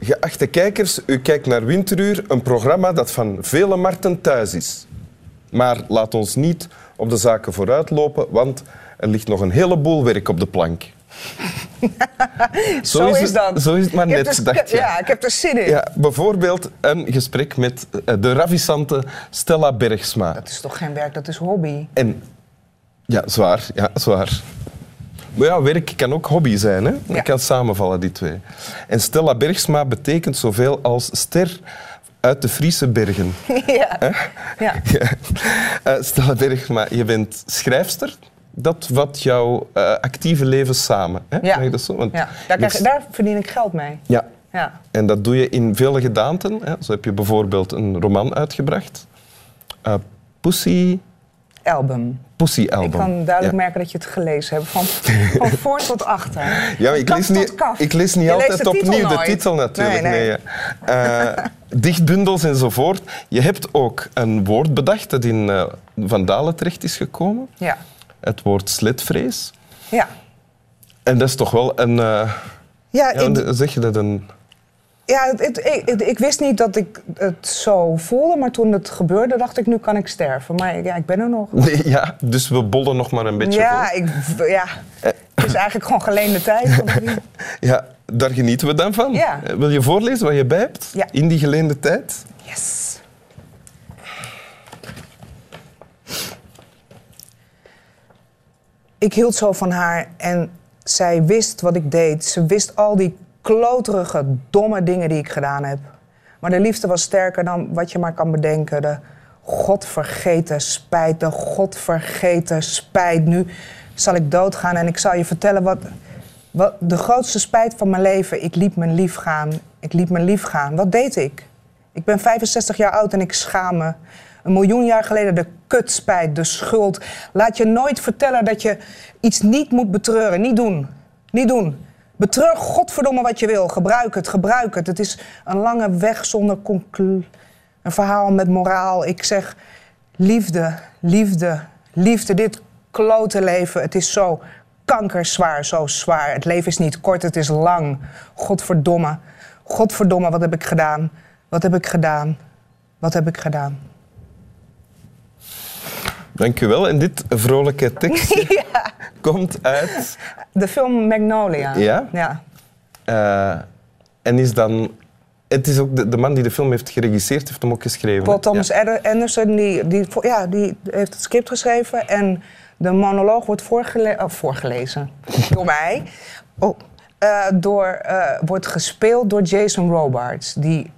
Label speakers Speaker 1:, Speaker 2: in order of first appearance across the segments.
Speaker 1: geachte kijkers, u kijkt naar Winteruur, een programma dat van vele markten thuis is. Maar laat ons niet op de zaken vooruitlopen, want er ligt nog een heleboel werk op de plank.
Speaker 2: Zo, is,
Speaker 1: het,
Speaker 2: dat.
Speaker 1: Zo is het maar
Speaker 2: Ik heb
Speaker 1: net,
Speaker 2: er-
Speaker 1: dacht je.
Speaker 2: Ja, ik heb er zin in.
Speaker 1: Ja, bijvoorbeeld een gesprek met eh, de ravissante Stella Bergsma.
Speaker 2: Dat is toch geen werk, dat is hobby.
Speaker 1: En ja, zwaar, ja, zwaar. Maar ja, werk kan ook hobby zijn, hè? Dat
Speaker 2: Ja.
Speaker 1: kan samenvallen, die twee. En Stella Bergsma betekent zoveel als ster uit de Friese bergen.
Speaker 2: ja. ja.
Speaker 1: Eh, Stella Bergsma, je bent schrijfster. Dat vat jouw eh, actieve leven samen. Hè?
Speaker 2: Ja.
Speaker 1: Mag ik dat zo? Want
Speaker 2: ja. Daar, krijg-
Speaker 1: je-
Speaker 2: daar verdien ik geld mee.
Speaker 1: ja.
Speaker 2: Ja.
Speaker 1: En dat doe je in vele gedaanten. Hè? Zo heb je bijvoorbeeld een roman uitgebracht. Eh, Pussy,
Speaker 2: Album.
Speaker 1: Pussy Album.
Speaker 2: Ik kan duidelijk
Speaker 1: Ja.
Speaker 2: merken dat je het gelezen hebt. Van, van voor tot achter.
Speaker 1: Ja, maar ik
Speaker 2: Van
Speaker 1: lees
Speaker 2: kaf
Speaker 1: niet,
Speaker 2: tot kaf.
Speaker 1: ik lees niet
Speaker 2: Je
Speaker 1: altijd
Speaker 2: leest de titel
Speaker 1: opnieuw de
Speaker 2: nooit.
Speaker 1: titel natuurlijk.
Speaker 2: Nee,
Speaker 1: Nee,
Speaker 2: nee.
Speaker 1: ja. Eh, dichtbundels enzovoort. Je hebt ook een woord bedacht dat in eh, Van Dalen terecht is gekomen.
Speaker 2: Ja.
Speaker 1: Het woord sletvrees.
Speaker 2: Ja.
Speaker 1: En dat is toch wel een... eh,
Speaker 2: Ja,
Speaker 1: ja,
Speaker 2: ik,
Speaker 1: hoe zeg je dat? Een,
Speaker 2: ja het, het- ik, het- ik wist niet dat ik het zo voelde, maar toen het gebeurde dacht ik, nu kan ik sterven. Maar ja, ik ben er nog.
Speaker 1: nee, ja, dus we bollen nog maar een beetje
Speaker 2: Ja, ik, ja, het is eigenlijk gewoon geleende tijd. of niet?
Speaker 1: vol. Ja, daar genieten we dan van.
Speaker 2: Ja.
Speaker 1: Eh, Wil je voorlezen wat je bij hebt?
Speaker 2: Ja.
Speaker 1: In die geleende tijd?
Speaker 2: Yes. Ik hield zo van haar en zij wist wat ik deed. Ze wist al die kloterige, domme dingen die ik gedaan heb. Maar de liefde was sterker dan wat je maar kan bedenken. De godvergeten spijt, de godvergeten spijt. Nu zal ik doodgaan en ik zal je vertellen wat, wat de grootste spijt van mijn leven. Ik liet mijn lief gaan. Ik liet mijn lief gaan. Wat deed ik? Ik ben 65 jaar oud en ik schaam me. Een miljoen jaar geleden de kutspijt, de schuld. Laat je nooit vertellen dat je iets niet moet betreuren. Niet doen. Niet doen. Betreur godverdomme wat je wil. Gebruik het, gebruik het. Het is een lange weg zonder conclu... Een verhaal met moraal. Ik zeg liefde, liefde, liefde. Dit klote leven, het is zo kankerzwaar, zo zwaar. Het leven is niet kort, het is lang. Godverdomme, godverdomme, wat heb ik gedaan? Wat heb ik gedaan? Wat heb ik gedaan?
Speaker 1: Dank u wel. En dit vrolijke tekstje komt uit...
Speaker 2: De film Magnolia.
Speaker 1: Ja?
Speaker 2: Ja.
Speaker 1: Eh, en is dan. Het is ook de, de man die de film heeft geregisseerd, heeft hem ook geschreven. hè?
Speaker 2: Paul Thomas
Speaker 1: Ja.
Speaker 2: Adder- Anderson die, die, vo- ja, die heeft het script geschreven. En de monoloog wordt voorgele- oh, voorgelezen door mij. Oh, eh, door, eh, wordt gespeeld door Jason Robards, die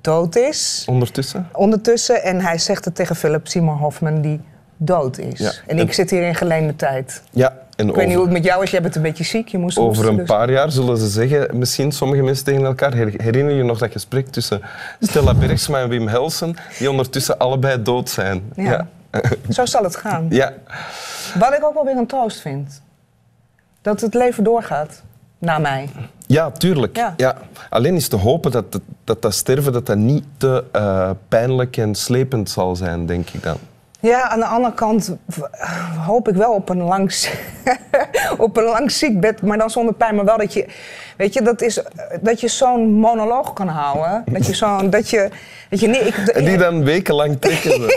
Speaker 2: dood is
Speaker 1: Ondertussen.
Speaker 2: ondertussen. En hij zegt het tegen Philip Seymour Hoffman, die dood is.
Speaker 1: Ja.
Speaker 2: En ik zit hier in geleende tijd.
Speaker 1: Ja, en
Speaker 2: Ik weet niet
Speaker 1: over,
Speaker 2: hoe het met jou is, jij bent een beetje ziek. Je moest
Speaker 1: over een
Speaker 2: dus-
Speaker 1: paar jaar zullen ze zeggen, misschien sommige mensen tegen elkaar, her- herinner je nog dat gesprek tussen Stella Bergsma en Wim Helsen, die ondertussen allebei dood zijn?
Speaker 2: dus- Ja.
Speaker 1: Ja.
Speaker 2: Zo zal het gaan.
Speaker 1: Ja.
Speaker 2: Wat ik ook wel weer een troost vind. Dat het leven doorgaat. Na mij.
Speaker 1: Ja, tuurlijk.
Speaker 2: Ja.
Speaker 1: Ja. Alleen is te hopen dat dat, dat, dat sterven dat dat niet te eh, pijnlijk en slepend zal zijn, denk ik dan.
Speaker 2: Ja, aan de andere kant v- hoop ik wel op een lang, z- op een lang ziekbed, maar dan zonder pijn. Maar wel dat je, weet je, dat is, eh, dat je zo'n monoloog kan houden. Dat je zo'n, dat je, dat je niet, ik,
Speaker 1: En die dan wekenlang trekken. zo.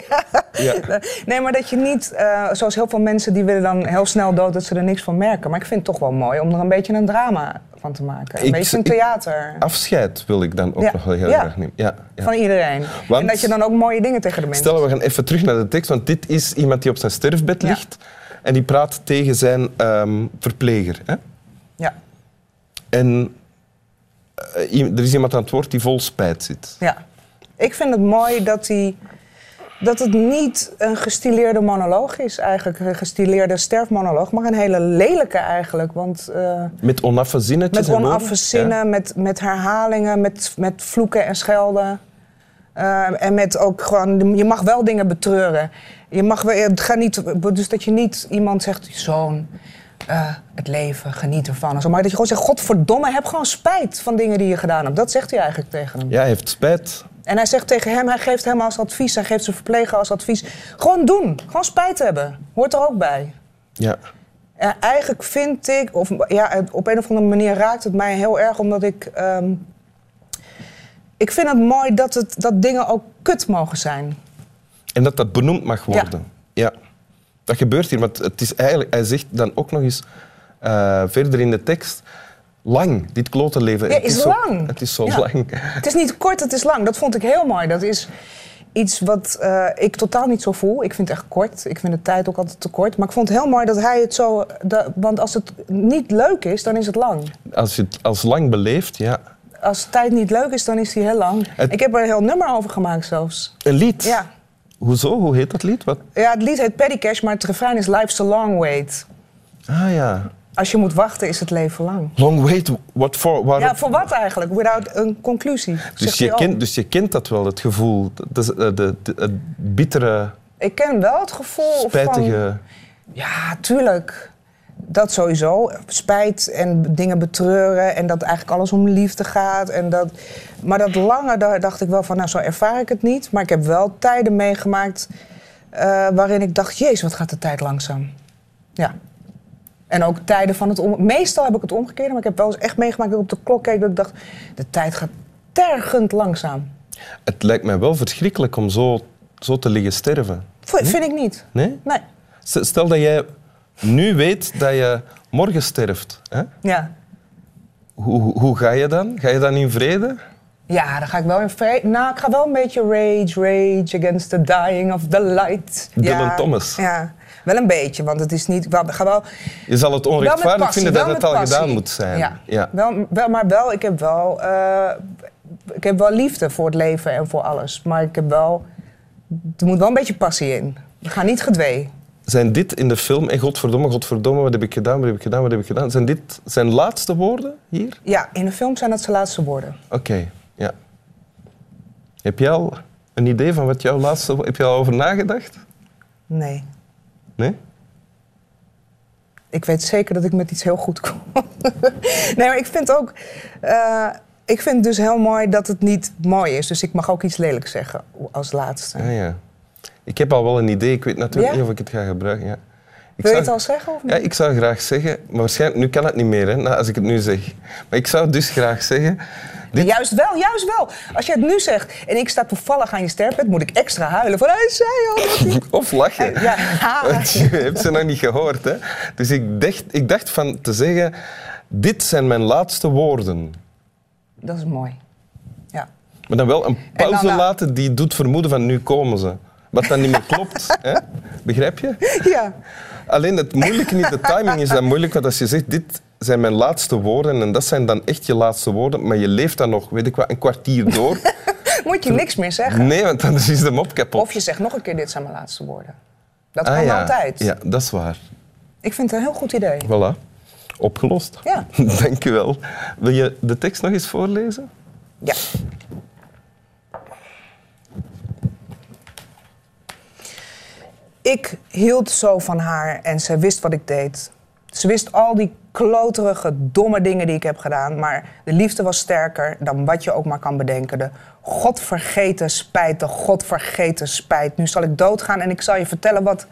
Speaker 1: ja.
Speaker 2: nee, maar dat je niet, eh, zoals heel veel mensen, die willen dan heel snel dood dat ze er niks van merken. Maar ik vind het toch wel mooi om er een beetje een drama van te maken. Een
Speaker 1: Ik-
Speaker 2: beetje een
Speaker 1: ik-
Speaker 2: theater.
Speaker 1: Afscheid wil ik dan ook
Speaker 2: Ja.
Speaker 1: nog wel heel
Speaker 2: Ja.
Speaker 1: graag nemen. Ja, ja.
Speaker 2: Van iedereen.
Speaker 1: Want-
Speaker 2: en dat je dan ook mooie dingen tegen de mensen
Speaker 1: Stel, we gaan even terug naar de tekst, want dit is iemand die op zijn sterfbed
Speaker 2: Ja.
Speaker 1: ligt en die praat tegen zijn ehm, verpleger. Hè?
Speaker 2: Ja,
Speaker 1: En eh, i- er is iemand aan het woord die vol spijt zit.
Speaker 2: ja. Ik vind het mooi dat, die, dat het niet een gestileerde monoloog is eigenlijk. Een gestileerde sterfmonoloog, maar een hele lelijke eigenlijk. Want eh,
Speaker 1: Met onaffe zinnetjes.
Speaker 2: met
Speaker 1: en woorden.
Speaker 2: onaffe zinnen,
Speaker 1: Ja.
Speaker 2: met, met herhalingen, met, met vloeken en schelden. Eh, en met ook gewoon, je mag wel dingen betreuren. Je mag wel, het gaat niet, dus dat je niet iemand zegt, zoon, eh, het leven, geniet ervan. En zo. Maar dat je gewoon zegt, godverdomme, heb gewoon spijt van dingen die je gedaan hebt. Dat zegt hij eigenlijk tegen hem.
Speaker 1: Ja, hij heeft spijt.
Speaker 2: En hij zegt tegen hem, hij geeft hem als advies, hij geeft zijn verpleger als advies. Gewoon doen, gewoon spijt hebben. Hoort er ook bij.
Speaker 1: Ja.
Speaker 2: Ja, eigenlijk vind ik, of ja, het- op een of andere manier raakt het mij heel erg, omdat ik. ehm, Ik vind het mooi dat, het, dat dingen ook kut mogen zijn.
Speaker 1: En dat dat benoemd mag worden. Ja. Dat gebeurt hier, want het is eigenlijk, hij zegt dan ook nog eens eh, verder in de tekst, lang, dit klote leven.
Speaker 2: Ja,
Speaker 1: Het
Speaker 2: is
Speaker 1: zo-
Speaker 2: lang.
Speaker 1: Het is zo
Speaker 2: Ja.
Speaker 1: lang.
Speaker 2: Het is niet kort, het is lang. Dat vond ik heel mooi. Dat is iets wat eh, ik totaal niet zo voel. Ik vind het echt kort. Ik vind de tijd ook altijd te kort. Maar ik vond het heel mooi dat hij het zo... dat- want als het niet leuk is, dan is het lang.
Speaker 1: Als je het als lang beleeft, ja.
Speaker 2: Als tijd niet leuk is, dan is die heel lang.
Speaker 1: Het-
Speaker 2: Ik heb er een heel nummer over gemaakt zelfs.
Speaker 1: Een lied.
Speaker 2: Ja.
Speaker 1: Hoezo? Hoe heet dat lied? Wat?
Speaker 2: ja, het lied heet Petty Cash, maar het refrein is Life's a long wait.
Speaker 1: Ah ja.
Speaker 2: Als je moet wachten, is het leven lang.
Speaker 1: Long wait, what for? Waar-
Speaker 2: Ja, voor wat eigenlijk? Without een conclusie.
Speaker 1: dus,
Speaker 2: zegt
Speaker 1: je
Speaker 2: hij ook.
Speaker 1: kent, dus je kent dat wel, het gevoel. Dat is, eh, de, de- het bittere,
Speaker 2: Ik ken wel het gevoel van...
Speaker 1: spijtige...
Speaker 2: Ja, tuurlijk. Dat sowieso. Spijt en dingen betreuren. En dat eigenlijk alles om liefde gaat. En dat... Maar dat lange, daar dacht ik wel van, nou zo ervaar ik het niet. Maar ik heb wel tijden meegemaakt eh, waarin ik dacht, jezus, wat gaat de tijd langzaam. Ja. En ook tijden van het om... Meestal heb ik het omgekeerde, maar ik heb wel eens echt meegemaakt dat ik op de klok keek. Dat ik dacht, de tijd gaat tergend langzaam.
Speaker 1: Het lijkt mij wel verschrikkelijk om zo, zo te liggen sterven.
Speaker 2: V- Vind ik niet.
Speaker 1: Nee?
Speaker 2: Nee.
Speaker 1: S- Stel dat jij nu weet dat je morgen sterft. Hè?
Speaker 2: Ja.
Speaker 1: Hoe, hoe- hoe ga je dan? Ga je dan in vrede?
Speaker 2: Ja, dan ga ik wel in vrede. Nou, ik ga wel een beetje rage, rage against the dying of the light.
Speaker 1: Dylan
Speaker 2: ja,
Speaker 1: Thomas.
Speaker 2: Ja, wel een beetje, want het is niet. wel- Ik ga wel.
Speaker 1: Je zal het
Speaker 2: wel met
Speaker 1: onrechtvaardig
Speaker 2: passie,
Speaker 1: vinden dat
Speaker 2: wel
Speaker 1: het al
Speaker 2: met passie.
Speaker 1: gedaan moet zijn.
Speaker 2: Ja, Wel, wel, maar wel, ik heb wel, eh, ik heb wel liefde voor het leven en voor alles. Maar ik heb wel. Er moet wel een beetje passie in. We gaan niet gedwee.
Speaker 1: Zijn dit in de film, en godverdomme, godverdomme, wat heb ik gedaan, wat heb ik gedaan, wat heb ik gedaan? Zijn dit zijn laatste woorden hier?
Speaker 2: Ja, in de film zijn dat zijn laatste woorden.
Speaker 1: Oké, ja. Heb jij al een idee van wat jouw laatste... wo- Heb je al over nagedacht?
Speaker 2: Nee.
Speaker 1: Nee?
Speaker 2: Ik weet zeker dat ik met iets heel goed kom. nee, maar ik vind ook. eh, ik vind dus heel mooi dat het niet mooi is. Dus ik mag ook iets lelijks zeggen als laatste.
Speaker 1: Ah ja. Ik heb al wel een idee. Ik weet natuurlijk
Speaker 2: Ja?
Speaker 1: niet of ik het ga gebruiken. Ja. Ik
Speaker 2: Wil je
Speaker 1: zou-
Speaker 2: het al zeggen of niet?
Speaker 1: Ja, ik zou graag zeggen... Maar waarschijnlijk... Nu kan het niet meer, hè, nou, als ik het nu zeg. Maar ik zou dus graag zeggen... Dit,
Speaker 2: Juist wel, juist wel. Als je het nu zegt en ik sta toevallig aan je sterfbed, moet ik extra huilen. Van, hij zei al dat hij-"
Speaker 1: Of lachen.
Speaker 2: Ja, Ah.
Speaker 1: Want je hebt ze nog niet gehoord. Hè? Dus ik dacht, ik dacht van te zeggen... Dit zijn mijn laatste woorden.
Speaker 2: dat is mooi. Ja.
Speaker 1: Maar dan wel een
Speaker 2: dan eh,
Speaker 1: pauze
Speaker 2: na-
Speaker 1: laten die doet vermoeden van nu komen ze. Wat dan niet meer klopt. hè? Begrijp je?
Speaker 2: ja.
Speaker 1: Alleen het moeilijke niet, de timing is dan moeilijk. Want als je zegt, dit zijn mijn laatste woorden en dat zijn dan echt je laatste woorden, maar je leeft dan nog, weet ik wat, een kwartier door.
Speaker 2: Moet je niks meer zeggen.
Speaker 1: Nee, want dan is de mop kapot.
Speaker 2: Of je zegt nog een keer, dit zijn mijn laatste woorden. Dat
Speaker 1: Ah,
Speaker 2: kan
Speaker 1: ja.
Speaker 2: altijd.
Speaker 1: Ja, dat is waar.
Speaker 2: Ik vind het een heel goed idee.
Speaker 1: Voilà. Opgelost.
Speaker 2: Ja.
Speaker 1: Dank je wel. Wil je de tekst nog eens voorlezen?
Speaker 2: Ja. Ik hield zo van haar en ze wist wat ik deed. Ze wist al die kloterige, domme dingen die ik heb gedaan. Maar de liefde was sterker dan wat je ook maar kan bedenken. De godvergeten spijt, de godvergeten spijt. Nu zal ik doodgaan en ik zal je vertellen wat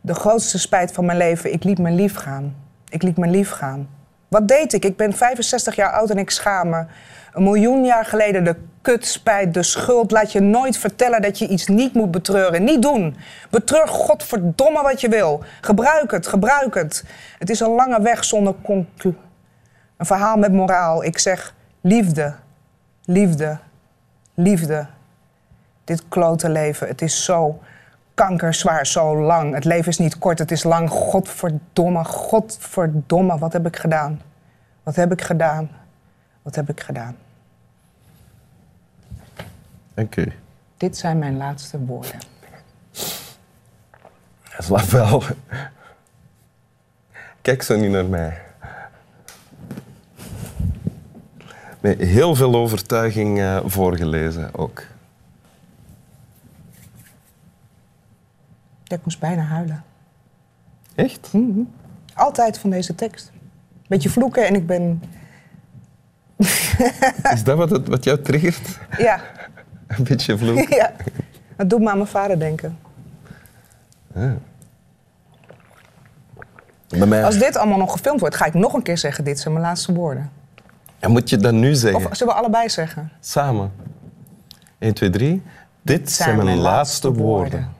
Speaker 2: de grootste spijt van mijn leven. Ik liet mijn lief gaan. Ik liet mijn lief gaan. Wat deed ik? Ik ben 65 jaar oud en ik schaam me. Een miljoen jaar geleden de kut spijt, de schuld. Laat je nooit vertellen dat je iets niet moet betreuren. Niet doen. Betreur godverdomme wat je wil. Gebruik het, gebruik het. Het is een lange weg zonder conclu. Een verhaal met moraal. Ik zeg liefde, liefde, liefde dit klote leven. Het is zo kankerzwaar, zo lang. Het leven is niet kort, het is lang. Godverdomme, godverdomme, wat heb ik gedaan? Wat heb ik gedaan? Wat heb ik gedaan?
Speaker 1: Oké.
Speaker 2: Dit zijn mijn laatste woorden.
Speaker 1: Slaap wel. Kijk zo niet naar mij. Met heel veel overtuiging eh, voorgelezen ook.
Speaker 2: Ja, Ik moest bijna huilen.
Speaker 1: Echt?
Speaker 2: Altijd van deze tekst. Beetje vloeken en ik ben...
Speaker 1: Is dat wat, het, wat jou triggert?
Speaker 2: Ja,
Speaker 1: Een beetje vloek.
Speaker 2: ja. Het doet me aan mijn vader denken.
Speaker 1: Bij mij.
Speaker 2: Als dit allemaal nog gefilmd wordt, ga ik nog een keer zeggen... dit zijn mijn laatste woorden.
Speaker 1: En moet je dat nu zeggen?
Speaker 2: Of zullen we allebei zeggen?
Speaker 1: Samen. 1, 2, 3. Dit zijn, mijn laatste woorden.